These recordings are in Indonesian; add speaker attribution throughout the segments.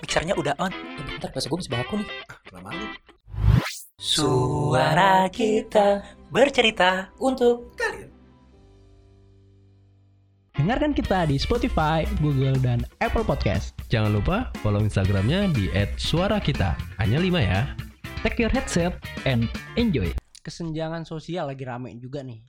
Speaker 1: mixernya udah on.
Speaker 2: Eh, Bentar, bahasa gue masih baku nih.
Speaker 3: Lama lu.
Speaker 1: Suara kita bercerita
Speaker 2: Untuk
Speaker 3: Kalian.
Speaker 4: Dengarkan kita di Spotify, Google, dan Apple Podcast.
Speaker 5: Jangan lupa follow Instagramnya di @suarakita. Hanya 5 ya.
Speaker 4: Take your headset and enjoy. Kesenjangan sosial lagi rame juga nih.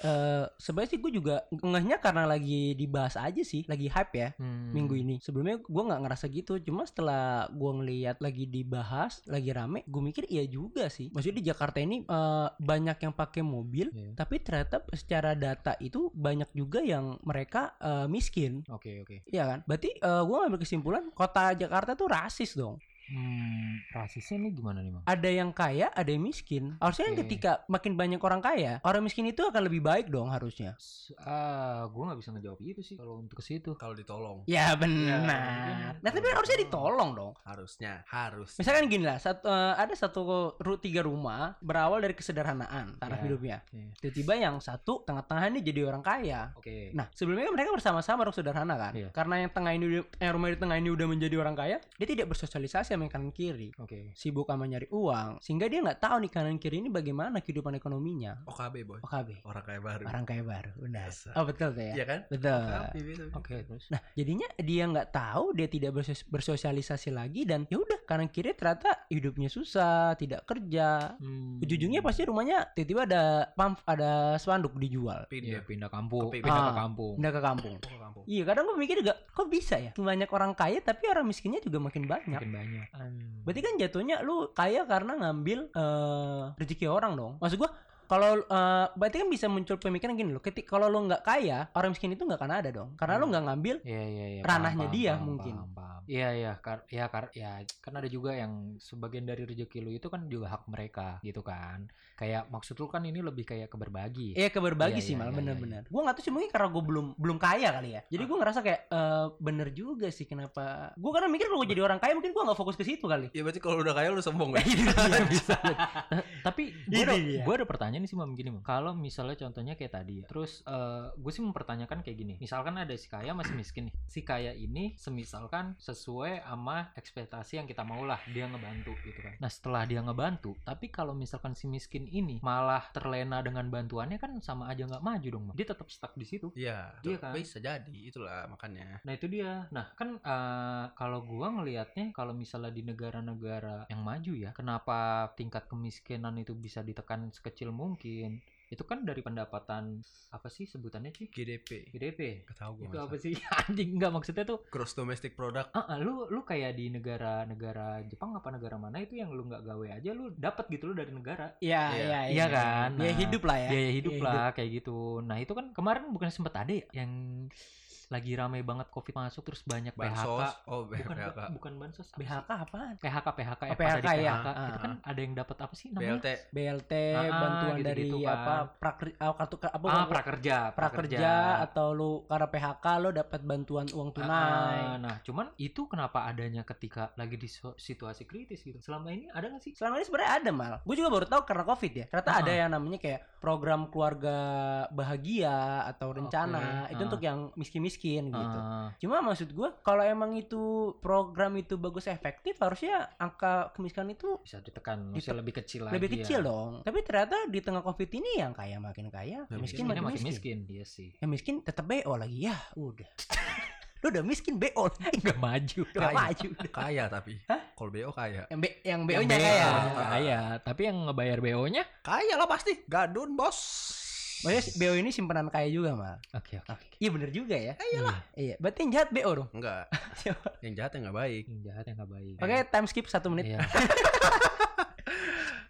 Speaker 4: Eh sebenarnya sih gue juga ngehnya karena lagi dibahas aja sih, lagi hype ya
Speaker 2: Hmm,
Speaker 4: minggu ini. Sebelumnya gue nggak ngerasa gitu, cuma setelah gue ngeliat lagi dibahas, lagi rame, gue mikir iya juga sih. Maksudnya di Jakarta ini eh, banyak yang pakai mobil,
Speaker 2: Iya.
Speaker 4: tapi ternyata secara data itu banyak juga yang mereka eh, miskin.
Speaker 2: Oke oke.
Speaker 4: Iya kan? Berarti eh, gue ngambil kesimpulan kota Jakarta tuh rasis dong.
Speaker 2: Hmm, rasisnya ini gimana nih, Mang?
Speaker 4: Ada yang kaya, ada yang miskin. Harusnya kan
Speaker 2: Oke.
Speaker 4: ketika makin banyak orang kaya, orang miskin itu akan lebih baik dong harusnya.
Speaker 2: S- Ah, gue nggak bisa ngejawab itu sih kalau untuk ke situ.
Speaker 3: Kalau ditolong
Speaker 4: Ya benar.
Speaker 2: benar.
Speaker 4: Nah tapi harusnya ditolong dong.
Speaker 3: harusnya harus.
Speaker 4: Misalkan gini lah, satu, eh, ada satu ru tiga rumah berawal dari kesederhanaan taraf
Speaker 2: Iya.
Speaker 4: hidupnya.
Speaker 2: Iya.
Speaker 4: Tiba-tiba yang satu tengah-tengah ini jadi orang kaya.
Speaker 2: Oke.
Speaker 4: Nah sebelumnya kan mereka bersama-sama orang sederhana kan.
Speaker 2: Iya.
Speaker 4: Karena yang tengah ini, yang rumah di tengah ini udah menjadi orang kaya, dia tidak bersosialisasi sama yang kanan kiri.
Speaker 2: Oke.
Speaker 4: sibuk sama nyari uang sehingga dia nggak tahu nih kanan kiri ini bagaimana kehidupan ekonominya
Speaker 3: OKB boy.
Speaker 4: OKB
Speaker 3: Orang kaya baru.
Speaker 4: orang kaya baru benar
Speaker 3: Biasa.
Speaker 4: oh betul tuh ya
Speaker 3: Iya kan?
Speaker 2: Eh.
Speaker 4: betul
Speaker 3: OKB gitu.
Speaker 2: Oke, terus.
Speaker 4: nah jadinya dia nggak tahu dia tidak bersos- bersosialisasi lagi dan ya udah kanan kiri ternyata hidupnya susah tidak kerja
Speaker 2: Hmm.
Speaker 4: ujungnya pasti rumahnya tiba-tiba ada pam ada spanduk dijual
Speaker 2: Iya,
Speaker 3: Pindah.
Speaker 2: pindah kampung.
Speaker 3: Ke-
Speaker 4: Ah.
Speaker 2: Pindah ke kampung.
Speaker 4: pindah ke kampung
Speaker 3: Ke kampung.
Speaker 4: iya kadang gue mikir juga kok bisa ya banyak orang kaya tapi orang miskinnya juga makin banyak
Speaker 2: Makin banyak.
Speaker 4: Berarti kan jatuhnya lu kaya karena ngambil eh, rezeki orang dong. Maksud gua kalau eh, berarti kan bisa muncul pemikiran gini loh. Ketika kalau lu nggak kaya, orang miskin itu nggak akan ada dong. Karena lu
Speaker 2: Hmm.
Speaker 4: nggak ngambil
Speaker 2: Iya iya iya.
Speaker 4: ranahnya dia mungkin.
Speaker 2: paham, paham. Iya iya kar ya kar ya kan ada juga yang sebagian dari rezeki lu itu kan juga hak mereka gitu kan. Kayak maksud lu kan ini lebih kayak keberbagi.
Speaker 4: Iya keberbagi
Speaker 2: Iya,
Speaker 4: sih
Speaker 2: iya,
Speaker 4: malah
Speaker 2: iya,
Speaker 4: bener-bener. Gua nggak tahu sih mungkin karena gua belum belum kaya kali ya. Jadi gua ngerasa kayak eh, bener juga sih kenapa. Gua karena mikir kalau gua jadi orang kaya mungkin gua nggak fokus ke situ kali.
Speaker 3: Ya berarti kalau udah kaya lu sombong kan?
Speaker 2: Iya. bisa. Tapi gue
Speaker 4: Ini
Speaker 2: ada,
Speaker 4: dia.
Speaker 2: gua ada pertanyaan sih mam gini mam. Kalau misalnya contohnya kayak tadi ya. Terus gue sih mempertanyakan kayak gini. Misalkan ada si kaya masih miskin nih. Si kaya ini semisalkan sesuai sama ekspektasi yang kita mau lah dia ngebantu gitu kan. Nah setelah dia ngebantu, tapi kalau misalkan si miskin ini malah terlena dengan bantuannya kan sama aja nggak maju dong mam. Dia tetap stuck di situ.
Speaker 3: Iya.
Speaker 2: Iya
Speaker 3: tuh,
Speaker 2: kan?
Speaker 3: Bisa jadi itulah makanya.
Speaker 2: Nah itu dia. Nah kan eh, kalau gua ngelihatnya kalau misalnya di negara-negara yang maju ya, kenapa tingkat kemiskinan itu bisa ditekan sekecil mungkin? Itu kan dari pendapatan apa sih sebutannya sih?
Speaker 3: GDP.
Speaker 2: GDP.
Speaker 3: Gak tau gue.
Speaker 2: Itu apa sih? Anjing nggak maksudnya tuh.
Speaker 3: Gross domestic product.
Speaker 2: ah, ah, lu lu kayak di negara-negara Jepang apa negara mana itu yang lu nggak gawe aja lu dapat gitu lu dari negara.
Speaker 4: Iya
Speaker 3: Iya.
Speaker 2: Iya kan?
Speaker 4: Biaya
Speaker 2: Nah,
Speaker 4: hidup lah ya.
Speaker 2: Biaya hidup
Speaker 4: biaya
Speaker 2: lah kayak gitu. Nah, itu kan kemarin bukan sempet ada ya yang lagi ramai banget Covid masuk terus banyak PHK
Speaker 3: Bansos. Oh,
Speaker 2: bukan
Speaker 3: PHK.
Speaker 2: bu- bukan bansos apa sih?
Speaker 4: BHK apaan?
Speaker 2: PHK PHK
Speaker 4: Oh,
Speaker 2: yang pada di
Speaker 4: PHK, ya.
Speaker 2: PHK. itu
Speaker 3: Ah.
Speaker 2: kan ada yang dapat apa sih namanya
Speaker 3: BLT.
Speaker 4: BLT
Speaker 2: Ah, ah,
Speaker 4: bantuan dari
Speaker 2: gitu-gitu kan.
Speaker 4: apa prakri, ah, kartu apa
Speaker 2: ah
Speaker 4: bukan-
Speaker 2: prakerja
Speaker 4: prakerja atau lu karena PHK lo dapat bantuan uang
Speaker 2: Ah,
Speaker 4: tunai.
Speaker 2: ah, nah cuman itu kenapa adanya ketika lagi di so- situasi kritis gitu selama ini ada nggak sih
Speaker 4: Selama ini sebenarnya ada mal. Gue juga baru tahu karena covid ya. Ternyata
Speaker 2: Ah.
Speaker 4: ada yang namanya kayak program keluarga bahagia atau rencana.
Speaker 2: Oke,
Speaker 4: Itu
Speaker 2: ah.
Speaker 4: untuk yang miskin-miskin gitu.
Speaker 2: Ah,
Speaker 4: Cuma maksud gue kalau emang itu program itu bagus efektif harusnya angka kemiskinan itu
Speaker 2: bisa ditekan
Speaker 4: Dite-
Speaker 2: bisa lebih kecil lagi
Speaker 4: lebih kecil
Speaker 2: ya.
Speaker 4: dong. Tapi ternyata di tengah covid ini yang kaya makin kaya,
Speaker 3: Yang
Speaker 4: miskin makin
Speaker 2: Miskinnya makin
Speaker 4: miskin.
Speaker 2: Iya, miskin, iya sih
Speaker 4: Yang miskin tetap BO lagi ya. Udah. lu udah miskin BO lagi.
Speaker 2: nggak maju
Speaker 4: Udah nggak
Speaker 3: Kaya.
Speaker 4: maju.
Speaker 3: Kaya tapi. Kalau BO kaya.
Speaker 4: Yang, B, yang
Speaker 2: Yang
Speaker 4: BO-nya
Speaker 2: BO-nya
Speaker 4: kaya.
Speaker 2: kaya tapi yang ngebayar BO nya
Speaker 3: Kaya lah pasti. Gadun bos.
Speaker 2: Oh, ya
Speaker 4: Maksudnya si BO ini simpenan kaya juga mal.
Speaker 2: oke oke
Speaker 4: Iya bener juga ya.
Speaker 3: Kaya lah.
Speaker 4: Iya. Berarti yang jahat BO dong.
Speaker 3: Enggak. yang jahat yang gak baik.
Speaker 2: yang jahat yang nggak baik
Speaker 4: Oke time skip satu menit.
Speaker 2: Iya.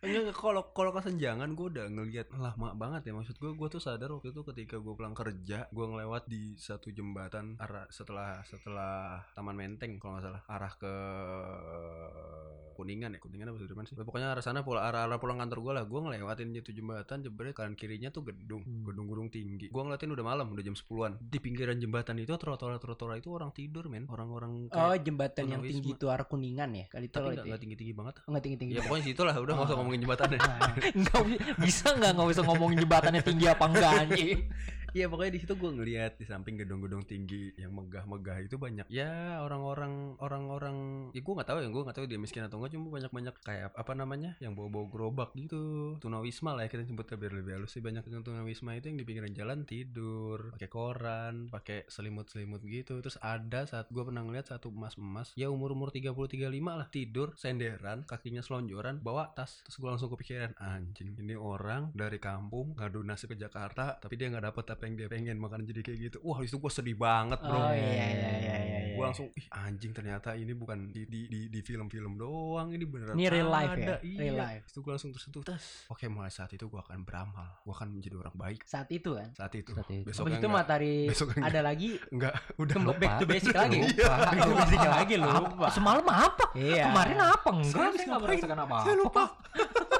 Speaker 3: Enggak kalau kalau kesenjangan gue udah ngelihat lama banget ya maksud gue gue tuh sadar waktu itu ketika gue pulang kerja gue ngelewat di satu jembatan arah setelah setelah Taman Menteng kalau nggak salah arah ke kuningan ya kuningan apa Sudirman sih pokoknya arah sana pulang arah arah pulang kantor gue lah gue ngelewatin itu jembatan jebret kanan kirinya tuh gedung
Speaker 2: Hmm.
Speaker 3: gedung-gedung tinggi gue ngeliatin udah malam udah jam 10-an di pinggiran jembatan itu trotoar trotoar itu orang tidur men orang-orang
Speaker 4: Oh
Speaker 3: kayak
Speaker 4: jembatan yang tinggi itu arah kuningan ya kali tol itu.
Speaker 3: tapi
Speaker 4: Oh.
Speaker 3: nggak nggak tinggi-tinggi banget
Speaker 4: Enggak tinggi tinggi.
Speaker 3: ya pokoknya situ lah udah nggak usah ngomongin jembatannya
Speaker 2: Nggak bisa nggak nggak usah ngomongin jembatannya tinggi apa enggak anjing
Speaker 3: Iya pokoknya di situ gue ngelihat di samping gedung-gedung tinggi yang megah-megah itu banyak ya orang-orang orang-orang ya gue nggak tahu yang gue nggak tahu dia miskin atau enggak cuma banyak-banyak kayak apa namanya yang bawa-bawa gerobak gitu tunawisma lah ya kita sebutnya biar lebih halus sih banyak yang tunawisma itu yang di pinggiran jalan tidur pakai koran Kan, pakai selimut-selimut gitu terus ada saat gue pernah ngeliat satu emas-emas ya umur-umur 30-35 lah tidur senderan kakinya selonjoran bawa tas terus gue langsung kepikiran anjing ini orang dari kampung ngadu nasib ke Jakarta tapi dia nggak dapet apa yang dia pengen makanya jadi kayak gitu wah itu gue sedih banget bro
Speaker 4: Oh iya iya iya iya. iya.
Speaker 3: gue langsung ih anjing ternyata ini bukan di di di, di film-film doang ini beneran
Speaker 4: Ini real life ya?
Speaker 3: ada. iya.
Speaker 4: Real life.
Speaker 3: itu gue langsung tersentuh tas oke mulai saat itu gue akan beramal gue akan menjadi orang baik
Speaker 4: Saat itu kan.
Speaker 3: saat itu
Speaker 2: Saat ya itu.
Speaker 3: besok
Speaker 4: Habis itu matahari
Speaker 3: besok enggak,
Speaker 4: ada lagi
Speaker 3: enggak udah
Speaker 4: kembali back to basic lagi.
Speaker 3: Lupa.
Speaker 4: Iya. Back to basic lagi lupa.
Speaker 2: Semalam apa?
Speaker 4: Iya.
Speaker 2: Kemarin apa? Enggak,
Speaker 3: Sekarang
Speaker 2: saya nggak
Speaker 3: ngapain?
Speaker 2: merasakan apa.
Speaker 3: saya lupa Ah.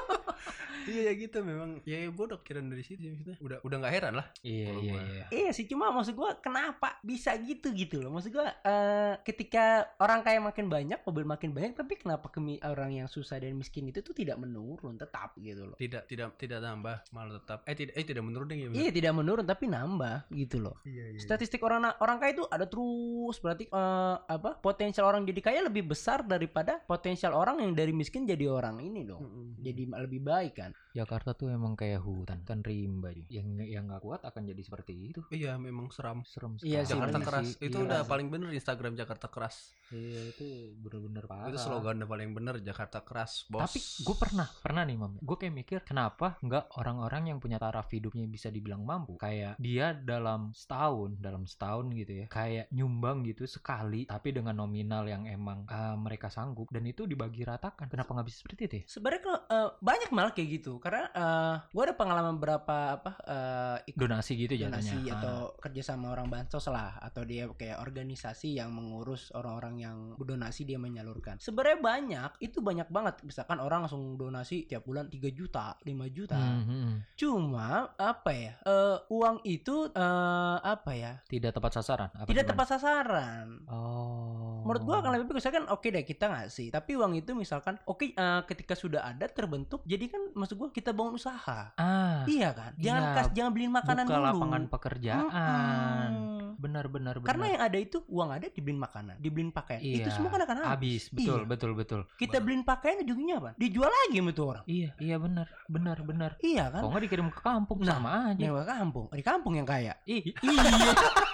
Speaker 3: iya ya gitu memang ya gue udah kiran dari situ sih, maksudnya. udah udah nggak heran lah
Speaker 2: Iya,
Speaker 3: Kalau
Speaker 2: iya,
Speaker 3: gua-
Speaker 2: iya.
Speaker 4: Iya sih cuma maksud gua kenapa bisa gitu gitu loh maksud gua eh, ketika orang kaya makin banyak mobil makin banyak tapi kenapa kemi orang yang susah dan miskin itu tuh tidak menurun tetap gitu loh
Speaker 3: tidak tidak tidak tambah malah tetap eh tidak eh tidak menurun deh ya bener.
Speaker 4: Iya tidak menurun tapi nambah gitu loh
Speaker 3: iya iya
Speaker 4: statistik orang na- orang kaya itu ada terus berarti eh, apa potensial orang jadi kaya lebih besar daripada potensial orang yang dari miskin jadi orang ini dong
Speaker 3: Mm-mm.
Speaker 4: jadi lebih baik kan
Speaker 2: Jakarta tuh emang kayak hutan, kan rimba. Ji. Yang yang nggak kuat akan jadi seperti itu.
Speaker 3: iya memang seram
Speaker 2: Serem sekali.
Speaker 4: Iya sih,
Speaker 3: Jakarta
Speaker 4: bener
Speaker 3: keras
Speaker 4: sih.
Speaker 3: itu
Speaker 4: Iya,
Speaker 3: udah
Speaker 4: sih.
Speaker 3: paling bener Instagram Jakarta keras
Speaker 2: Iya, itu bener-bener parah.
Speaker 3: itu slogan udah paling bener Jakarta keras bos
Speaker 2: Ah. Tapi gue pernah, pernah nih mam. Gue kayak mikir kenapa nggak orang-orang yang punya taraf hidupnya bisa dibilang mampu. Kayak dia dalam setahun, dalam setahun gitu ya. Kayak nyumbang gitu sekali, tapi dengan nominal yang emang eh, mereka sanggup. Dan itu dibagi ratakan. Kenapa nggak bisa seperti itu ya?
Speaker 4: sebenarnya kalau, eh, banyak malah kayak gitu karena eh, gua ada pengalaman berapa apa eh, ikut
Speaker 2: Donasi gitu jadinya.
Speaker 4: donasi atau kerja sama orang bansos lah atau dia kayak organisasi yang mengurus orang-orang yang berdonasi dia menyalurkan sebenarnya banyak itu banyak banget misalkan orang langsung donasi tiap bulan 3 juta 5 juta
Speaker 2: Hmm.
Speaker 4: cuma apa ya eh, uang itu eh, apa ya
Speaker 2: Tidak tepat sasaran. apa
Speaker 4: tidak
Speaker 2: gimana?
Speaker 4: tepat sasaran
Speaker 2: Oh.
Speaker 4: menurut gua akan lebih baik misalkan oke deh kita ngasih tapi uang itu misalkan oke eh, ketika sudah ada terbentuk jadi kan maksud gua kita bangun usaha
Speaker 2: ah
Speaker 4: iya kan jangan
Speaker 2: Iya,
Speaker 4: kas jangan beliin makanan
Speaker 2: buka
Speaker 4: dulu
Speaker 2: lapangan pekerjaan.
Speaker 4: Mm-mm.
Speaker 2: Benar-benar.
Speaker 4: Karena yang ada itu uang ada dibeliin makanan, dibeliin pakaian. Itu
Speaker 2: Iya,
Speaker 4: semua kan akan habis.
Speaker 2: habis, betul,
Speaker 4: Iya.
Speaker 2: betul, betul.
Speaker 4: Kita beliin pakaian ujungnya apa? Dijual lagi sama tuh orang.
Speaker 2: Iya, iya benar, benar, benar.
Speaker 4: Iya kan?
Speaker 2: Kok nggak dikirim ke kampung
Speaker 4: Nah,
Speaker 2: sama aja.
Speaker 4: Nyewa kampung, di kampung yang kaya.
Speaker 2: Ih,
Speaker 4: iya. iya.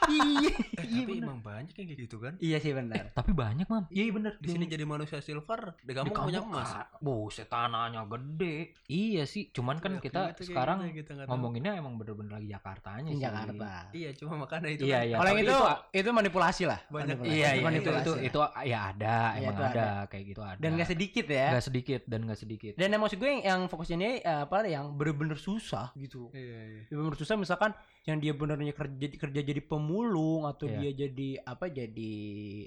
Speaker 3: Eh,
Speaker 4: iya
Speaker 3: tapi
Speaker 4: bener.
Speaker 3: emang banyak yang kayak gitu kan
Speaker 4: Iya sih benar.
Speaker 2: tapi banyak mam.
Speaker 3: iya bener di sini jadi manusia silver di kampung punya emas
Speaker 2: ah. Buset tanahnya gede. Iya sih, cuman kan
Speaker 3: Iya,
Speaker 2: kita
Speaker 3: kayak gitu, kayak
Speaker 2: sekarang
Speaker 3: gitu, kita nggak tahu.
Speaker 2: ngomonginnya emang bener-bener lagi Jakartanya
Speaker 4: Di
Speaker 2: sih.
Speaker 4: Jakarta.
Speaker 3: iya cuma makanya itu
Speaker 2: Iya,
Speaker 3: kan
Speaker 2: iya.
Speaker 4: Kalau yang
Speaker 2: tapi
Speaker 4: itu itu manipulasi lah.
Speaker 3: Banyak-
Speaker 4: Manipulasi.
Speaker 2: Iya, iya,
Speaker 4: Cuman
Speaker 2: itu, itu,
Speaker 4: manipulasi.
Speaker 2: itu, ya ada,
Speaker 4: Iya,
Speaker 2: emang
Speaker 4: itu
Speaker 2: ada.
Speaker 4: ada.
Speaker 2: kayak gitu ada.
Speaker 4: dan nggak sedikit ya.
Speaker 2: Nggak sedikit dan nggak sedikit.
Speaker 4: Dan yang maksud gue yang, yang fokusnya ini eh, apa yang bener-bener susah gitu.
Speaker 3: iya
Speaker 4: Ya,
Speaker 3: iya
Speaker 4: menurut susah misalkan yang dia benernya kerja kerja jadi pemulung atau
Speaker 2: Iya.
Speaker 4: dia jadi apa jadi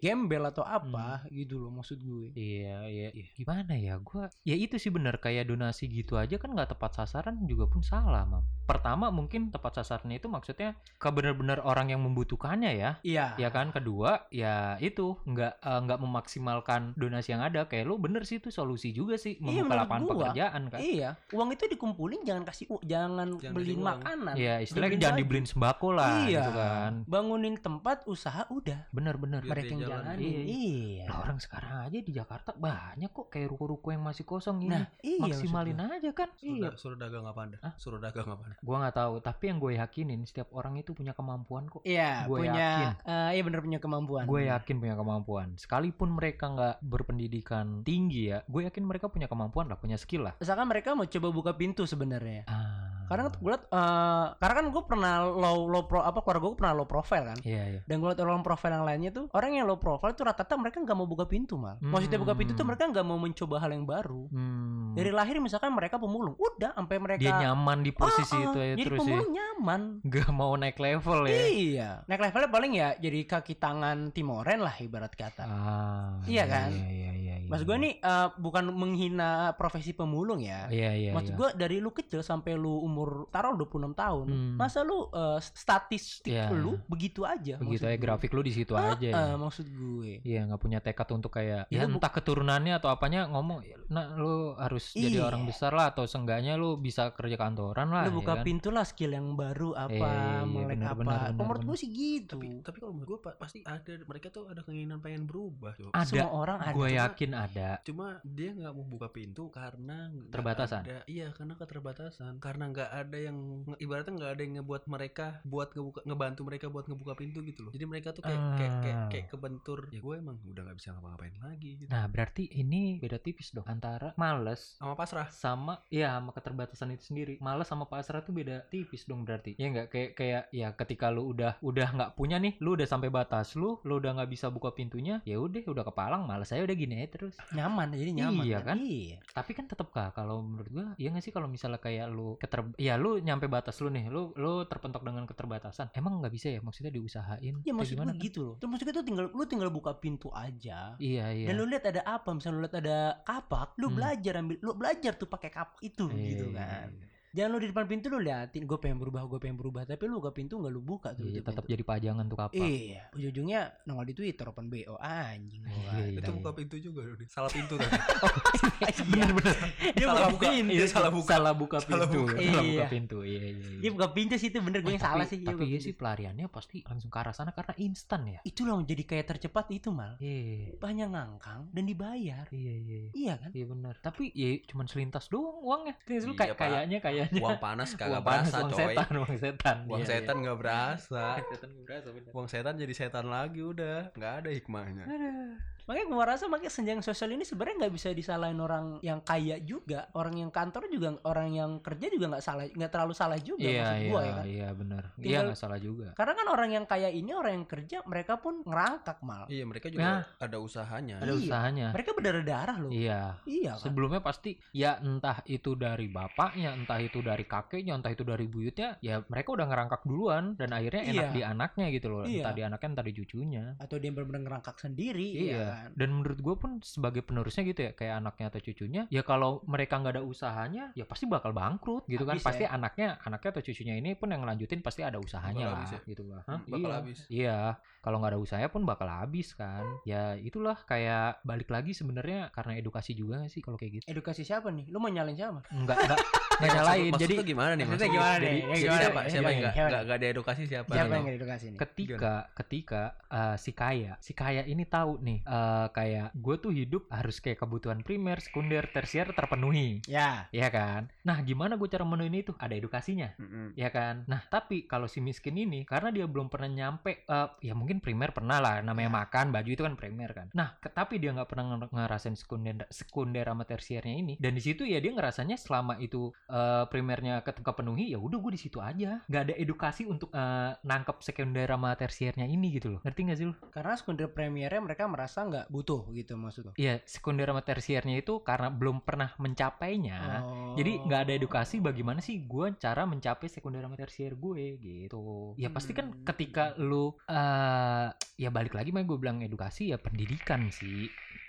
Speaker 4: gembel atau apa
Speaker 2: Hmm.
Speaker 4: gitu loh maksud gue.
Speaker 2: Iya, iya, iya. Gimana ya? Gua ya itu sih bener kayak donasi gitu aja kan nggak tepat sasaran juga pun salah, Mam. Pertama mungkin tepat sasarannya itu maksudnya ke bener-bener orang yang membutuhkannya ya.
Speaker 4: Iya.
Speaker 2: ya kan kedua ya itu nggak eh, nggak memaksimalkan donasi yang ada kayak lu bener sih itu solusi juga sih
Speaker 4: Iya,
Speaker 2: membuka
Speaker 4: menurut
Speaker 2: lapangan
Speaker 4: gua.
Speaker 2: pekerjaan kan
Speaker 4: Iya, uang itu dikumpulin jangan kasih u- jangan,
Speaker 3: Jangan
Speaker 4: beliin
Speaker 3: kasih uang.
Speaker 4: makanan.
Speaker 2: ya istilahnya
Speaker 4: Dibeliin
Speaker 2: jangan
Speaker 4: baju.
Speaker 2: dibeliin sembako lah
Speaker 4: Iya.
Speaker 2: gitu kan
Speaker 4: Bangunin tempat usaha udah.
Speaker 2: bener bener
Speaker 3: Biar
Speaker 4: Mereka
Speaker 3: dia
Speaker 4: yang
Speaker 3: jalan.
Speaker 4: jalanin.
Speaker 2: Iya.
Speaker 4: Iya.
Speaker 2: Lah, orang sekarang aja di Jakarta banyak kok kayak ruko-ruko yang masih kosong ini
Speaker 4: Nah, iya.
Speaker 2: maksimalin aja kan
Speaker 3: suruh,
Speaker 2: iya
Speaker 3: da- suruh dagang apa anda
Speaker 2: Hah?
Speaker 3: suruh dagang apa anda
Speaker 2: gua nggak tahu tapi yang gue yakinin setiap orang itu punya kemampuan kok
Speaker 4: Iya,
Speaker 2: Gua
Speaker 4: punya
Speaker 2: yakin.
Speaker 4: eh, iya bener punya kemampuan.
Speaker 2: gue yakin punya kemampuan sekalipun mereka nggak berpendidikan tinggi ya gue yakin mereka punya kemampuan lah punya skill lah
Speaker 4: Misalkan mereka mau coba buka pintu sebenarnya.
Speaker 2: ah.
Speaker 4: Karena gue liat, eh, karena kan gue pernah low low pro apa keluarga gue pernah low profile kan.
Speaker 2: iya iya
Speaker 4: Dan gue liat orang profile yang lainnya tuh orang yang low profile tuh rata-rata mereka nggak mau buka pintu mal. Maksudnya buka pintu tuh
Speaker 2: Hmm.
Speaker 4: mereka nggak mau mencoba hal yang baru.
Speaker 2: Hmm.
Speaker 4: Dari lahir misalkan mereka pemulung, udah sampai mereka
Speaker 2: dia nyaman di posisi
Speaker 4: Ah, ah,
Speaker 2: itu ya
Speaker 4: jadi
Speaker 2: terus ya
Speaker 4: pemulung nyaman.
Speaker 2: gak mau naik level ya
Speaker 4: Iya. Naik levelnya paling ya jadi kaki tangan Timoren lah ibarat kata.
Speaker 2: ah,
Speaker 4: Iya kan?
Speaker 2: iya iya iya,
Speaker 4: Mas gue nih eh, bukan menghina profesi pemulung ya.
Speaker 2: Iya iya.
Speaker 4: Maksud
Speaker 2: iya.
Speaker 4: gue dari lu kecil sampai lu umur taruh 26 tahun,
Speaker 2: Hmm.
Speaker 4: masa lu eh, statistik
Speaker 2: Iya.
Speaker 4: lu begitu aja.
Speaker 2: begitu
Speaker 4: maksud
Speaker 2: ya
Speaker 4: gue.
Speaker 2: grafik lu di situ
Speaker 4: Ah,
Speaker 2: aja.
Speaker 4: ah,
Speaker 2: ya.
Speaker 4: maksud gue.
Speaker 2: Iya nggak punya tekad untuk kayak
Speaker 4: Iya,
Speaker 2: ya,
Speaker 4: bu-
Speaker 2: entah keturunannya atau apanya ngomong, nah lu harus jadi
Speaker 4: Iya.
Speaker 2: orang besar lah atau seenggaknya lu bisa kerja kantoran lah.
Speaker 4: lu
Speaker 2: ya
Speaker 4: buka
Speaker 2: kan?
Speaker 4: pintu lah skill yang baru apa,
Speaker 2: Iya, iya, iya,
Speaker 4: melek
Speaker 2: benar,
Speaker 4: apa.
Speaker 2: benar, benar,
Speaker 4: Kalau Menurut
Speaker 2: benar.
Speaker 4: gue sih gitu.
Speaker 3: tapi tapi kalau menurut gue pasti ada mereka tuh ada keinginan pengen berubah Jo.
Speaker 2: Ada.
Speaker 4: Semua orang ada.
Speaker 2: Gue
Speaker 3: Cuma-
Speaker 2: yakin ada.
Speaker 3: cuma dia nggak mau buka pintu karena nggak
Speaker 2: Terbatasan.
Speaker 3: ada- iya karena keterbatasan karena nggak ada yang ibaratnya nggak ada yang ngebuat mereka buat ngebuka ngebantu mereka buat ngebuka pintu gitu loh jadi mereka tuh kayak kayak, kayak,
Speaker 2: Ah.
Speaker 3: kayak kebentur ya gue emang udah nggak bisa ngapa-ngapain lagi gitu
Speaker 2: Nah berarti ini beda tipis dong antara males
Speaker 3: sama pasrah
Speaker 2: sama ya sama keterbatasan itu sendiri malas sama pasrah tuh beda tipis dong berarti ya nggak kayak kayak ya ketika lu udah udah nggak punya nih lu udah sampai batas lu lu udah nggak bisa buka pintunya ya udah udah kepalang malas saya udah gini aja terus
Speaker 4: Nyaman jadi nyaman.
Speaker 2: Iya kan?
Speaker 4: Iya.
Speaker 2: tapi kan tetep kah kalau menurut gua ya nggak sih kalau misalnya kayak lu keter ya lu nyampe batas lu nih lu lu terpentok dengan keterbatasan emang nggak bisa ya maksudnya diusahain
Speaker 4: Ya
Speaker 2: Kayak
Speaker 4: maksud gue
Speaker 2: gimana?
Speaker 4: gitu loh. Terus maksud gue tuh tinggal lu tinggal buka pintu aja.
Speaker 2: iya iya
Speaker 4: Dan lu lihat ada apa, misalnya lu lihat ada kapak, lu
Speaker 2: Hmm.
Speaker 4: belajar ambil, lu belajar tuh pakai kapak itu
Speaker 2: Iya,
Speaker 4: gitu
Speaker 2: iya,
Speaker 4: kan. Jangan lu di depan pintu lu liatin, gue pengen berubah, gue pengen berubah, tapi lu buka pintu nggak lu buka tuh.
Speaker 2: iya,
Speaker 4: tuh
Speaker 2: tetap
Speaker 4: pintu.
Speaker 2: jadi pajangan tuh apa
Speaker 4: Iya, ujung-ujungnya nongol di Twitter open BO anjing. gua.
Speaker 2: Iya, iya,
Speaker 3: itu
Speaker 2: iya.
Speaker 3: buka pintu juga loh salah pintu tadi
Speaker 2: bener-bener
Speaker 4: Dia
Speaker 3: Salah
Speaker 4: buka
Speaker 3: buka.
Speaker 4: pintu.
Speaker 3: Iya, salah buka.
Speaker 2: salah buka
Speaker 3: Salah
Speaker 2: pintu
Speaker 3: buka.
Speaker 2: salah buka
Speaker 4: Iya.
Speaker 2: pintu iya iya, iya.
Speaker 4: Dia buka pintu sih itu bener gue yang
Speaker 2: Eh,
Speaker 4: salah
Speaker 2: tapi-
Speaker 4: sih. dia
Speaker 2: tapi
Speaker 4: buka
Speaker 2: iya
Speaker 4: pintu.
Speaker 2: sih pelariannya pasti langsung ke arah sana karena instan ya
Speaker 4: Itu loh jadi kayak tercepat itu mal.
Speaker 2: iya
Speaker 4: Banyak ngangkang dan dibayar.
Speaker 2: iya iya iya.
Speaker 4: Iya kan?
Speaker 2: iya benar tapi ya cuman selintas doang uangnya Terus lu
Speaker 3: Iya,
Speaker 2: kayak
Speaker 3: Pak.
Speaker 2: kayaknya kayaknya
Speaker 3: uang panas kagak
Speaker 2: uang panas,
Speaker 3: berasa
Speaker 2: uang
Speaker 3: coy
Speaker 2: setan uang setan Iya,
Speaker 3: uang
Speaker 2: iya.
Speaker 3: setan nggak berasa
Speaker 2: Uang setan nggak kan berasa, bener.
Speaker 3: uang setan jadi setan lagi udah nggak ada hikmahnya
Speaker 2: Aduh.
Speaker 4: Makanya gue rasa makanya senjang sosial ini sebenarnya nggak bisa disalahin orang yang kaya juga, orang yang kantor juga, orang yang kerja juga nggak salah, nggak terlalu salah juga
Speaker 2: iya
Speaker 4: maksud
Speaker 2: iya
Speaker 4: gue ya kan.
Speaker 2: iya benar iya
Speaker 4: Tinggal-
Speaker 2: nggak salah juga
Speaker 4: Karena kan orang yang kaya ini orang yang kerja mereka pun ngerangkak mal.
Speaker 3: iya mereka juga ada usahanya
Speaker 2: ada
Speaker 4: Iya.
Speaker 2: usahanya
Speaker 4: Mereka berdarah-darah loh.
Speaker 2: iya
Speaker 4: Iya kan.
Speaker 2: Sebelumnya pasti ya entah itu dari bapaknya, entah itu dari kakeknya, entah itu dari buyutnya, ya mereka udah ngerangkak duluan dan akhirnya enak
Speaker 4: Iya.
Speaker 2: di anaknya gitu loh,
Speaker 4: Iya.
Speaker 2: entah di anaknya entah di cucunya.
Speaker 4: Atau dia benar-benar ngerangkak sendiri ya
Speaker 2: Iya.
Speaker 4: kan.
Speaker 2: Dan menurut gue pun sebagai penerusnya gitu ya, kayak anaknya atau cucunya, ya kalau mereka nggak ada usahanya, ya pasti bakal bangkrut gitu kan.
Speaker 4: Habis ya.
Speaker 2: Pasti anaknya, anaknya atau cucunya ini pun yang ngelanjutin pasti ada usahanya
Speaker 3: Bakal
Speaker 2: lah
Speaker 3: habis ya.
Speaker 2: gitu
Speaker 4: Hmm,
Speaker 2: lah. Hah?
Speaker 3: bakal
Speaker 2: Iya.
Speaker 3: habis
Speaker 2: Iya, kalau nggak ada usahanya pun bakal habis kan. Ya itulah kayak balik lagi sebenarnya karena edukasi juga nggak sih kalau kayak gitu.
Speaker 4: Edukasi siapa nih? Lu mau nyalain siapa?
Speaker 2: Enggak, enggak, enggak nyalain.
Speaker 3: Maksud-
Speaker 2: Jadi
Speaker 3: maksudnya gimana nih
Speaker 4: maksudnya
Speaker 3: maksudnya
Speaker 4: gimana
Speaker 3: jadi,
Speaker 4: nih? Ya,
Speaker 3: jadi
Speaker 4: gimana?
Speaker 3: siapa
Speaker 4: Ya,
Speaker 3: siapa yang
Speaker 4: gimana?
Speaker 3: nggak
Speaker 4: Gimana?
Speaker 3: nggak- nggak ada edukasi siapa
Speaker 4: Siapa
Speaker 3: Nih?
Speaker 4: yang nggak edukasi nih?
Speaker 2: ketika ketika eh, si kaya, si kaya ini tahu nih eh, kayak gue tuh hidup harus kayak kebutuhan primer, sekunder, tersier terpenuhi.
Speaker 4: Ya.
Speaker 2: Ya kan? Nah, gimana gue cara memenuhi itu? Ada edukasinya,
Speaker 3: Mm-mm.
Speaker 2: ya kan? Nah, tapi kalau si miskin ini karena dia belum pernah nyampe eh, ya mungkin primer pernah lah namanya makan, baju itu kan primer kan. Nah, ke- tapi dia nggak pernah nger- ngerasain sekunder sekunder sama tersiernya ini. Dan di situ ya dia ngerasanya selama itu eh, primernya ke- kepenuhi ya udah gue di situ aja nggak ada edukasi untuk eh, nangkep sekunder sama tersiernya ini gitu loh ngerti nggak sih lo
Speaker 4: Karena sekunder premiernya mereka merasa nggak butuh gitu maksud lu.
Speaker 2: iya sekunder sama tersiernya itu karena belum pernah
Speaker 4: Oh.
Speaker 2: mencapainya Ya, Jadi
Speaker 3: Oh.
Speaker 2: nggak ada edukasi bagaimana sih gue cara mencapai sekunder sama tersier gue gitu. Ya pasti kan
Speaker 4: Hmm.
Speaker 2: ketika
Speaker 3: iya.
Speaker 2: lu eh ya balik lagi mah gue bilang edukasi ya pendidikan sih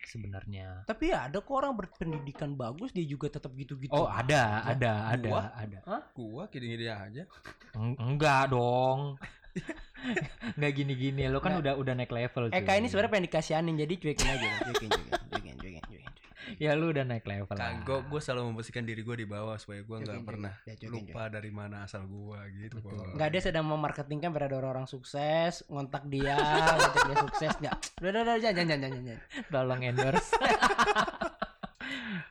Speaker 2: sebenarnya.
Speaker 4: Tapi ya ada kok orang berpendidikan bagus dia juga tetap gitu-gitu. Ya.
Speaker 2: Oh ada,
Speaker 4: aja.
Speaker 2: ada, ada,
Speaker 3: Gua?
Speaker 2: ada.
Speaker 3: gua kini dia aja
Speaker 2: Eng- enggak dong. Enggak gini-gini lo kan udah udah naik level
Speaker 3: Eh,
Speaker 2: cuy.
Speaker 4: Eka ini sebenarnya pengen dikasihanin jadi cuekin aja, cuekin, cuekin, cuekin, cuekin, cuekin.
Speaker 2: ya lu udah naik level. lah.
Speaker 3: kagok gua selalu membersihkan diri gua di bawah supaya gua nggak
Speaker 4: Cuekin,
Speaker 3: pernah
Speaker 4: cuekin. Ya, cuekin,
Speaker 3: lupa dari mana asal gua gitu
Speaker 2: Betul.
Speaker 3: Bos.
Speaker 4: cuekin. Nggak ada sedang memarketingkan biar ada orang-orang sukses, ngontak dia, ngontak dia sukses nggak? Udah, udah, udah, jangan, jangan, jangan, jangan.
Speaker 2: Tolong endorse.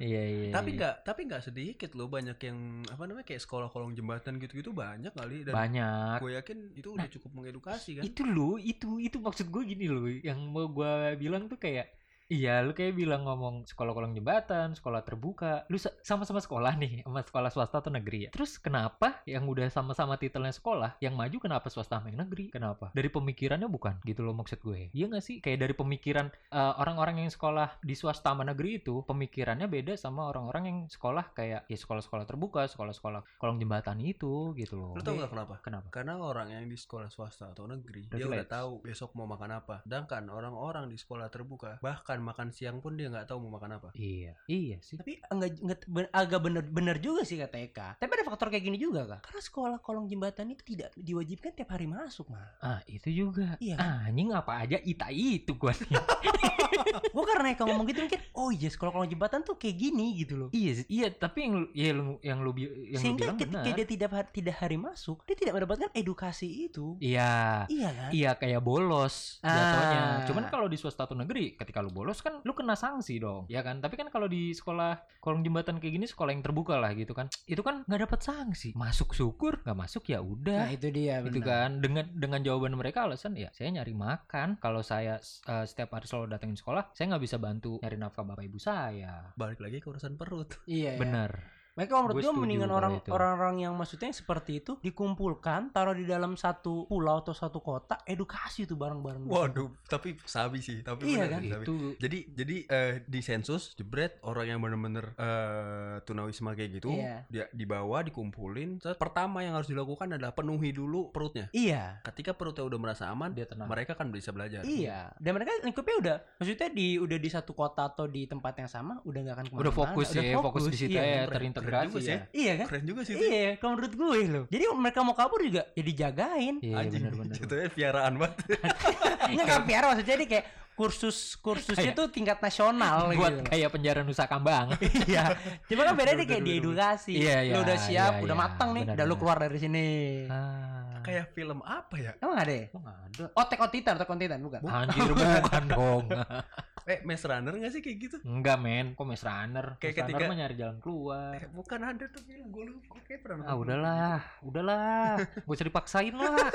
Speaker 2: Iya iya.
Speaker 3: tapi
Speaker 2: iya.
Speaker 3: nggak tapi nggak sedikit loh banyak yang apa namanya kayak sekolah kolong jembatan gitu-gitu banyak kali dan
Speaker 2: banyak
Speaker 3: gue yakin itu udah cukup mengedukasi kan
Speaker 2: itu loh itu itu maksud gue gini loh yang mau gue bilang tuh kayak iya lu kayak bilang ngomong sekolah kolong jembatan sekolah terbuka lu se- sama-sama sekolah nih sama sekolah swasta atau negeri ya terus kenapa yang udah sama-sama titelnya sekolah yang maju kenapa swasta sama yang negeri kenapa dari pemikirannya bukan gitu loh maksud gue iya gak sih kayak dari pemikiran eh, orang-orang yang sekolah di swasta sama negeri itu pemikirannya beda sama orang-orang yang sekolah kayak ya sekolah-sekolah terbuka sekolah-sekolah kolong jembatan itu gitu loh
Speaker 3: lu tau gak kenapa
Speaker 2: kenapa
Speaker 3: karena orang yang di sekolah swasta atau negeri
Speaker 2: Udah
Speaker 3: dia udah
Speaker 2: relax.
Speaker 3: tahu besok mau makan apa. Sedangkan orang-orang di sekolah terbuka bahkan makan makan siang pun dia nggak tahu mau makan apa
Speaker 2: Iya, iya sih.
Speaker 4: Tapi enggak, enggak- ben- agak bener-bener juga sih kata Eka. Tapi ada faktor kayak gini juga kak. Karena sekolah kolong jembatan itu tidak diwajibkan tiap hari masuk mah.
Speaker 2: Ah, itu juga.
Speaker 4: Iya.
Speaker 2: Ah, anjing apa aja ita itu gua.
Speaker 4: Gue karena Eka ngomong gitu mikir, oh iya sekolah kolong jembatan tuh kayak gini gitu loh.
Speaker 2: iya, sih, iya, tapi yang lu- ya lu yang lu bi- yang lu
Speaker 4: Sehingga
Speaker 2: bilang
Speaker 4: ketika
Speaker 2: benar.
Speaker 4: dia tidak har- tidak hari masuk, dia tidak mendapatkan edukasi itu.
Speaker 2: Iya.
Speaker 4: Iya kan?
Speaker 2: Iya kayak bolos jatuhnya.
Speaker 4: Ah.
Speaker 2: Cuman kalau di swasta atau negeri, ketika lu bolos kan lu kena sanksi dong, ya kan? Tapi kan kalau di sekolah kolong jembatan kayak gini, sekolah yang terbuka lah gitu kan, itu kan nggak dapat sanksi. Masuk syukur, nggak masuk ya udah.
Speaker 4: Nah, itu dia
Speaker 2: gitu kan dengan dengan jawaban mereka alasan ya saya nyari makan kalau saya eh, setiap hari selalu datengin sekolah saya nggak bisa bantu nyari nafkah bapak ibu saya
Speaker 3: balik lagi ke urusan perut
Speaker 4: Iya. iya.
Speaker 2: bener
Speaker 4: Mereka menurut
Speaker 2: Gue
Speaker 4: gue
Speaker 2: setuju
Speaker 4: mendingan
Speaker 2: kalau
Speaker 4: orang
Speaker 2: itu.
Speaker 4: orang-orang yang maksudnya yang seperti itu dikumpulkan, taruh di dalam satu pulau atau satu kota, edukasi itu bareng-bareng.
Speaker 3: waduh tapi sabi sih tapi
Speaker 4: Iya
Speaker 3: bener
Speaker 4: kan?
Speaker 3: sih, sabi.
Speaker 2: itu
Speaker 3: jadi jadi eh, di sensus jebret orang yang bener-bener eh, tunawisma kayak gitu
Speaker 4: Iya.
Speaker 3: dia dibawa dikumpulin Terus pertama yang harus dilakukan adalah penuhi dulu perutnya
Speaker 4: Iya.
Speaker 3: ketika perutnya udah merasa aman
Speaker 2: dia tenang
Speaker 3: mereka kan bisa belajar
Speaker 4: Iya. Dan mereka lingkupnya udah maksudnya di udah di satu kota atau di tempat yang sama udah nggak akan kemana
Speaker 2: udah fokus ya fokus di situ
Speaker 4: iya,
Speaker 2: ya
Speaker 3: keren- keren
Speaker 2: terintegrasi
Speaker 3: juga sih
Speaker 2: ya
Speaker 3: ya.
Speaker 4: Iya kan?
Speaker 3: keren juga sih itu
Speaker 4: Iya, kalau menurut gue loh. Jadi mereka mau kabur juga ya dijagain.
Speaker 2: iya
Speaker 3: anjing Gitu.
Speaker 2: bener-bener
Speaker 3: jatuhnya piaraan banget
Speaker 4: Enggak kan biar maksudnya jadi kayak kursus kursusnya
Speaker 2: Kayak-
Speaker 4: tuh tingkat nasional
Speaker 2: Iya. buat
Speaker 4: gitu. loh.
Speaker 2: kayak penjara Nusa Kambang
Speaker 4: Iya. Cuma kan bedanya
Speaker 3: Bener,
Speaker 4: kayak
Speaker 3: bener,
Speaker 4: diedukasi.
Speaker 2: Iya, iya,
Speaker 4: Lu udah siap,
Speaker 2: iya,
Speaker 4: udah
Speaker 2: iya.
Speaker 4: matang nih,
Speaker 2: Bener,
Speaker 4: udah lu
Speaker 2: bener.
Speaker 4: keluar dari sini.
Speaker 2: ah
Speaker 3: kayak film apa ya
Speaker 4: Emang ada ya?
Speaker 2: kok nggak ada
Speaker 4: Otek otitan, otek otitan bukan?
Speaker 2: Anjir bukan dong
Speaker 3: eh Maze Runner nggak sih kayak gitu
Speaker 2: Enggak men Kok Maze Runner Maze
Speaker 3: Kayak
Speaker 2: Runner
Speaker 3: ketika-
Speaker 2: mah nyari jalan keluar
Speaker 3: Eh, bukan ada tuh film gue lupa kayak pernah
Speaker 2: Ah
Speaker 3: nonton.
Speaker 2: udahlah Udahlah Gak usah dipaksain lah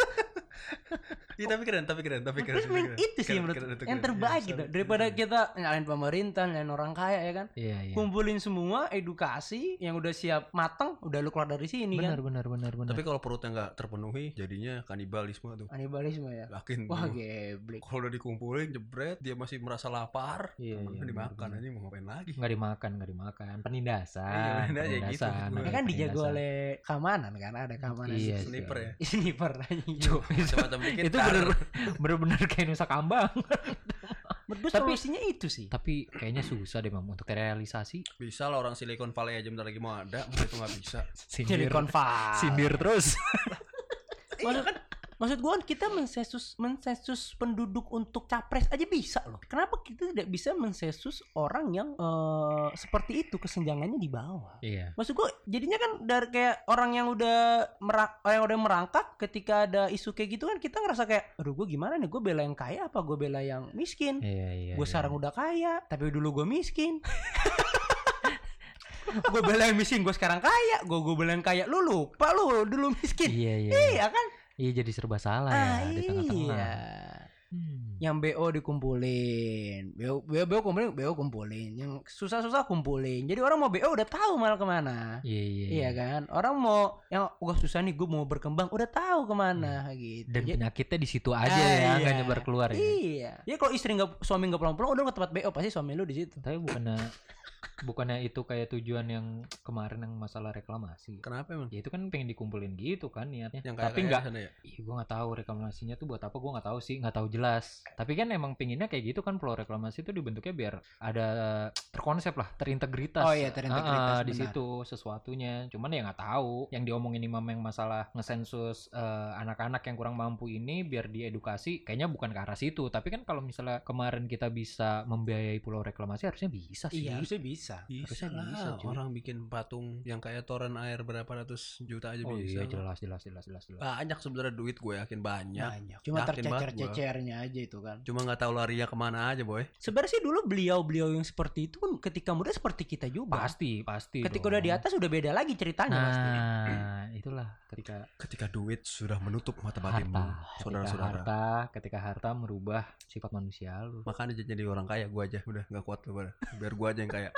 Speaker 3: Iya tapi keren, tapi keren, tapi keren.
Speaker 4: Terus
Speaker 3: tapi
Speaker 4: men-
Speaker 3: keren.
Speaker 4: itu sih
Speaker 3: Keren,
Speaker 4: menurut
Speaker 3: keren, itu
Speaker 4: yang
Speaker 3: keren.
Speaker 4: terbaik
Speaker 3: Iya,
Speaker 4: gitu
Speaker 3: sorry.
Speaker 4: daripada kita nyalain pemerintah, nyalain orang kaya ya kan.
Speaker 2: Iya iya
Speaker 4: Kumpulin semua edukasi yang udah siap matang, udah lu keluar dari sini
Speaker 2: Benar
Speaker 4: kan.
Speaker 2: benar benar benar
Speaker 3: Tapi kalau perutnya nggak terpenuhi, jadinya kanibalisme tuh.
Speaker 4: Anibalisme ya.
Speaker 3: Yakin.
Speaker 4: Wah,
Speaker 2: gitu.
Speaker 3: tuh.
Speaker 2: Iya.
Speaker 4: geblek.
Speaker 3: kalau udah dikumpulin, jebret, dia masih merasa lapar.
Speaker 2: Iya,
Speaker 3: temen
Speaker 2: iya,
Speaker 3: dimakan
Speaker 2: bener-bener.
Speaker 3: aja mau ngapain lagi?
Speaker 2: nggak dimakan nggak dimakan penindasan
Speaker 3: Iya, bener aja gitu, maksud gue.
Speaker 4: Ya
Speaker 2: ada
Speaker 4: kan dijago
Speaker 2: penindasan.
Speaker 4: oleh keamanan kan, ada keamanan.
Speaker 2: Iya, sih.
Speaker 3: Sniper ya.
Speaker 4: Ini pernah Menurut
Speaker 3: Macam-macam dikit.
Speaker 2: itu
Speaker 3: tar.
Speaker 2: bener bener bener kayak Nusa Kambang
Speaker 4: gue
Speaker 2: Tapi-
Speaker 4: solusinya itu sih.
Speaker 2: tapi kayaknya susah deh mam untuk terrealisasi
Speaker 3: Bisa lah orang Silicon Valley aja bentar lagi mau ada, menurut itu nggak bisa.
Speaker 4: Jadi
Speaker 2: sindir
Speaker 4: konfal.
Speaker 2: sindir terus
Speaker 4: Maksud, maksud gue kan kita mensensus mensensus penduduk untuk capres aja bisa loh. Kenapa kita tidak bisa mensensus orang yang eh, seperti itu kesenjangannya di bawah?
Speaker 2: iya
Speaker 4: Maksud gue jadinya kan dari kayak orang yang udah merak orang yang udah merangkak ketika ada isu kayak gitu kan kita ngerasa kayak aduh gue gimana nih gue bela yang kaya apa gue bela yang miskin?
Speaker 2: iya iya
Speaker 4: gue
Speaker 2: iya.
Speaker 4: sekarang udah kaya tapi dulu gue miskin gue bela yang miskin gue sekarang kaya gue gue bela yang kaya lu lupa lu dulu miskin
Speaker 2: iya iya
Speaker 4: iya kan
Speaker 2: iya jadi serba salah ya
Speaker 4: ah,
Speaker 2: di tengah-tengah
Speaker 4: iya
Speaker 2: Hmm.
Speaker 4: yang BO dikumpulin BO, BO BO kumpulin BO kumpulin yang susah-susah kumpulin jadi orang mau BO udah tahu malah kemana
Speaker 2: iya iya
Speaker 4: Iya kan, orang mau yang wah susah nih, gue mau berkembang, udah tahu kemana gitu.
Speaker 2: dan
Speaker 4: Ja-
Speaker 2: penyakitnya di situ aja
Speaker 4: Ah,
Speaker 2: ya nggak
Speaker 4: iya.
Speaker 2: nyebar keluar ya
Speaker 4: Iya. Jadi kalau istri nggak suami nggak pulang-pulang, udah ke tempat BO pasti suami lu di situ.
Speaker 2: tapi bukannya bukannya itu kayak tujuan yang kemarin yang masalah reklamasi
Speaker 3: Kenapa emang?
Speaker 2: ya itu kan pengen dikumpulin gitu kan niatnya
Speaker 3: Yang kayak
Speaker 2: tapi nggak
Speaker 3: sana ya.
Speaker 2: Ih, gue nggak tahu reklamasinya tuh buat apa gue nggak tahu sih nggak tahu jelas tapi kan emang pinginnya kayak gitu kan pulau reklamasi itu dibentuknya biar ada terkonsep lah terintegritas
Speaker 4: Oh iya, terintegritas,
Speaker 2: Ah, di
Speaker 4: benar.
Speaker 2: situ sesuatunya cuman ya nggak tahu yang diomongin imam yang masalah ngesensus eh, anak-anak yang kurang mampu ini biar diedukasi kayaknya bukan ke arah situ tapi kan kalau misalnya kemarin kita bisa membiayai pulau reklamasi harusnya bisa sih
Speaker 4: harusnya bisa.
Speaker 3: Bisa
Speaker 2: Harusnya bisa,
Speaker 3: lah,
Speaker 2: cuy.
Speaker 3: orang bikin patung yang kayak toren air berapa ratus juta aja
Speaker 2: oh
Speaker 3: bisa.
Speaker 2: iya
Speaker 3: lah.
Speaker 2: jelas Nah. jelas jelas jelas jelas
Speaker 3: Banyak sebenarnya duit gue yakin banyak.
Speaker 4: Banyak. Cuma
Speaker 3: Yakin banget
Speaker 4: tercecer-cecernya aja itu kan.
Speaker 3: Cuma nggak tahu larinya kemana aja boy.
Speaker 4: Sebenarnya sih dulu beliau-beliau yang seperti itu kan ketika muda seperti kita juga.
Speaker 2: pasti pasti
Speaker 4: Ketika
Speaker 2: dong.
Speaker 4: udah di atas udah beda lagi ceritanya pasti.
Speaker 2: nah itulah ketika
Speaker 3: Ketika duit sudah menutup mata batinmu,
Speaker 2: harta ketika
Speaker 3: saudara-saudara.
Speaker 2: harta ketika harta merubah sifat manusia lu
Speaker 3: Makanya jadi orang kaya gua aja udah nggak kuat lu pada. Biar gua aja yang kaya.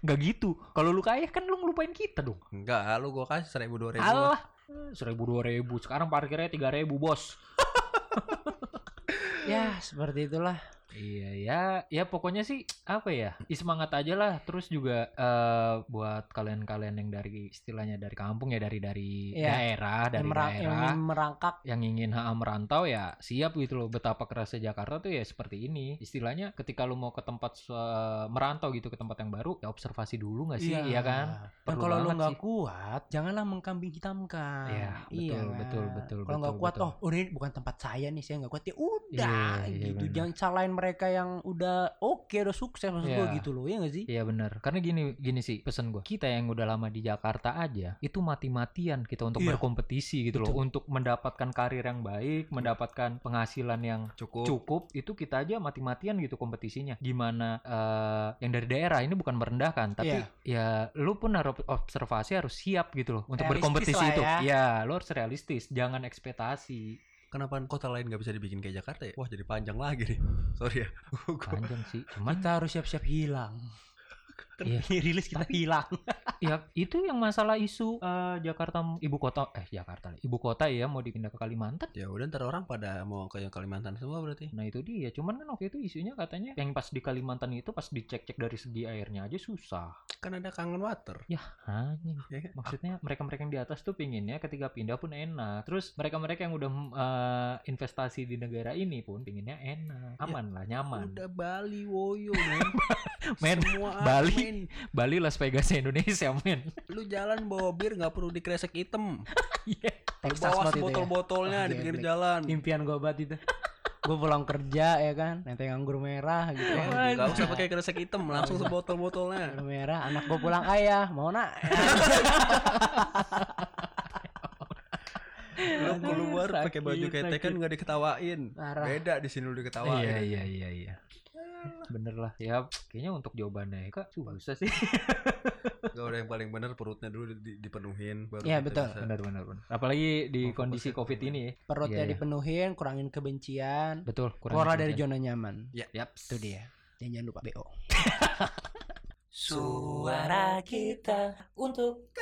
Speaker 2: nggak gitu kalau lu kaya kan lu ngelupain kita dong
Speaker 3: Enggak, lu gua kasih seribu dua ribu.
Speaker 2: Allah seribu dua ribu sekarang parkirnya tiga ribu bos
Speaker 4: Ya, seperti itulah.
Speaker 2: Iya ya, ya pokoknya sih apa ya, semangat aja lah. Terus juga eh, buat kalian-kalian yang dari istilahnya dari kampung ya dari dari
Speaker 4: Iya.
Speaker 2: daerah dari
Speaker 4: yang, merang- yang
Speaker 2: daerah
Speaker 4: merangkak
Speaker 2: yang ingin HA merantau ya siap gitu loh betapa kerasnya Jakarta tuh ya seperti ini istilahnya ketika lu mau ke tempat su- merantau gitu ke tempat yang baru ya observasi dulu nggak sih
Speaker 4: Iya.
Speaker 2: ya kan
Speaker 4: Dan
Speaker 2: Perlu
Speaker 4: kalau lu
Speaker 2: banget
Speaker 4: nggak
Speaker 2: sih.
Speaker 4: kuat, janganlah mengkambing hitamkan.
Speaker 2: Iya, betul,
Speaker 4: kan?
Speaker 2: betul, betul,
Speaker 4: Kalau nggak
Speaker 2: betul,
Speaker 4: kuat,
Speaker 2: betul.
Speaker 4: oh, oh, ini bukan tempat saya nih, saya nggak kuat ya udah
Speaker 2: Iya, iya,
Speaker 4: gitu.
Speaker 2: benar.
Speaker 4: Jangan salahin mereka yang udah oke, udah sukses maksud gua
Speaker 2: Iya.
Speaker 4: gitu loh, ya nggak sih?
Speaker 2: Iya benar. Karena gini gini sih pesan gua. Kita yang udah lama di Jakarta aja itu mati-matian kita untuk
Speaker 4: Iya.
Speaker 2: berkompetisi gitu loh,
Speaker 4: Betul. Iya.
Speaker 2: untuk mendapatkan karir yang baik, mendapatkan penghasilan yang
Speaker 3: cukup
Speaker 2: cukup itu kita aja mati-matian gitu kompetisinya gimana eh, yang dari daerah ini bukan
Speaker 4: Iya,
Speaker 2: merendahkan tapi ya lu pun harus observasi harus siap gitu loh untuk
Speaker 4: Realistis
Speaker 2: berkompetisi
Speaker 4: lah
Speaker 2: itu
Speaker 4: ya.
Speaker 2: ya lu harus realistis jangan ekspektasi
Speaker 3: kenapa kota lain nggak bisa dibikin kayak Jakarta ya wah jadi panjang lagi nih sorry ya Gua-
Speaker 2: panjang sih cuman
Speaker 4: Kita harus siap-siap hilang.
Speaker 2: Iya.
Speaker 4: Ini rilis kita hilang.
Speaker 2: ya itu yang masalah isu eh, Jakarta ibu kota eh Jakarta ibu kota ya mau dipindah ke Kalimantan
Speaker 3: ya udah ntar orang pada mau ke yang Kalimantan semua berarti
Speaker 2: nah itu dia cuman kan waktu itu isunya katanya yang pas di Kalimantan itu pas dicek-cek dari segi airnya aja susah
Speaker 3: kan ada kangen water
Speaker 2: ya anjing
Speaker 3: ya kan?
Speaker 2: maksudnya mereka-mereka yang di atas tuh pinginnya ketika pindah pun enak terus mereka-mereka yang udah mm, eh, investasi di negara ini pun pinginnya enak aman lah nyaman
Speaker 3: udah Bali woyo men,
Speaker 2: Men,
Speaker 3: Semua
Speaker 2: Bali.
Speaker 3: men.
Speaker 2: Bali Las Vegas Indonesia men
Speaker 3: lu jalan bawa bir nggak perlu dikresek hitam
Speaker 4: Texas banget
Speaker 3: bawa
Speaker 4: itu ya.
Speaker 3: botol-botolnya
Speaker 4: Ah,
Speaker 3: di
Speaker 4: iya,
Speaker 3: pinggir
Speaker 4: Black.
Speaker 3: jalan
Speaker 4: Impian gua banget itu. gua pulang kerja ya kan, nenteng anggur merah gitu.
Speaker 3: Ya,
Speaker 4: ya.
Speaker 3: nggak usah pakai kresek hitam langsung sebotol-botolnya
Speaker 4: Anggur merah, anak gua pulang ayah, mau nak?
Speaker 3: lu keluar pakai baju
Speaker 2: Sakit,
Speaker 3: ketek kan
Speaker 2: sakit.
Speaker 3: nggak diketawain
Speaker 4: Parah.
Speaker 3: beda di sini lu diketawain
Speaker 2: iya iya iya iya bener lah ya kayaknya untuk jawabannya ya, kak susah sih
Speaker 3: Gak udah yang paling bener perutnya dulu di- dipenuhin baru
Speaker 4: Iya,
Speaker 3: kita
Speaker 4: betul.
Speaker 3: bisa-
Speaker 2: bener bener bener. apalnya
Speaker 3: Oh,
Speaker 2: di
Speaker 3: fokus
Speaker 2: kondisi
Speaker 3: ya.
Speaker 2: covid ini ya
Speaker 4: Perutnya
Speaker 2: Iya, iya.
Speaker 4: dipenuhin, kurangin kebencian,
Speaker 2: betul kurang ya.
Speaker 4: keluar dari zona nyaman.
Speaker 2: yap
Speaker 4: Itu dia. Dan jangan lupa BO.
Speaker 1: Suara kita untuk